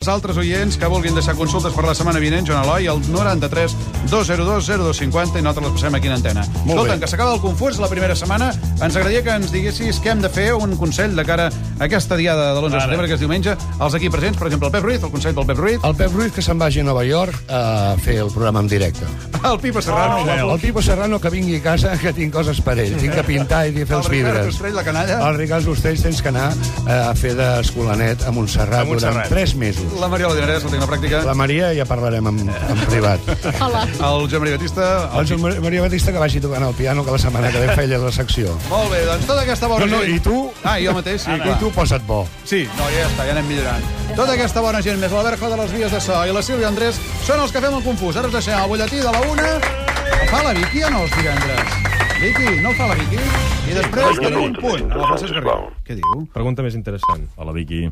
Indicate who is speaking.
Speaker 1: Els altres oients que vulguin deixar consultes per la setmana vinent, Joan Eloi, al 93 202 0250 i nosaltres les passem aquí en antena.
Speaker 2: Molt
Speaker 1: Escolta'm,
Speaker 2: bé.
Speaker 1: que s'acaba el confús la primera setmana. Ens agradaria que ens diguessis què hem de fer, un consell de cara a aquesta diada de l'11 de
Speaker 3: Ara.
Speaker 1: setembre, que és diumenge, els aquí presents, per exemple, el Pep Ruiz, el consell del Pep Ruiz,
Speaker 2: El Pep Ruiz que se'n vagi a Nova York a fer el programa en directe.
Speaker 1: el Pipa Serrano,
Speaker 3: Oh,
Speaker 2: El Pipo Serrano que vingui a casa, que tinc coses per ell. Tinc que pintar i
Speaker 1: el
Speaker 2: fer els
Speaker 1: Ricard
Speaker 2: vidres. Ah.
Speaker 1: Ostrell, la canalla,
Speaker 2: El Ricard Ostells tens que anar eh, a fer d'escolanet a Montserrat,
Speaker 3: A Montserrat.
Speaker 2: durant 3 mesos.
Speaker 1: la Mariola Dinarès, la tecnopràctica,
Speaker 2: La Maria ja parlarem en, en privat.
Speaker 4: Hola.
Speaker 1: el Joan Maria Batista...
Speaker 2: El Joan Mar- Maria Batista que vagi tocant el piano que la setmana que ve feia la secció.
Speaker 1: Molt bé, doncs tota aquesta
Speaker 2: No,
Speaker 1: bona
Speaker 2: no,
Speaker 1: gent-
Speaker 2: i tu?
Speaker 1: Ah, i jo mateix, sí,
Speaker 2: I
Speaker 1: clar.
Speaker 2: tu posa't bo.
Speaker 1: Sí, no, ja està, ja anem millorant. Tota aquesta bona gent, més l'Albert de les Vies de So i la Sílvia Andrés, són els que fem el confús. Ara us deixem el butlletí de la una. El fa la Vicky o no, els divendres? Vicky, no el fa la Vicky? I després tenim un punt. A la Francesc Garriga. Què diu?
Speaker 5: Pregunta més interessant.
Speaker 6: Hola, Vicky.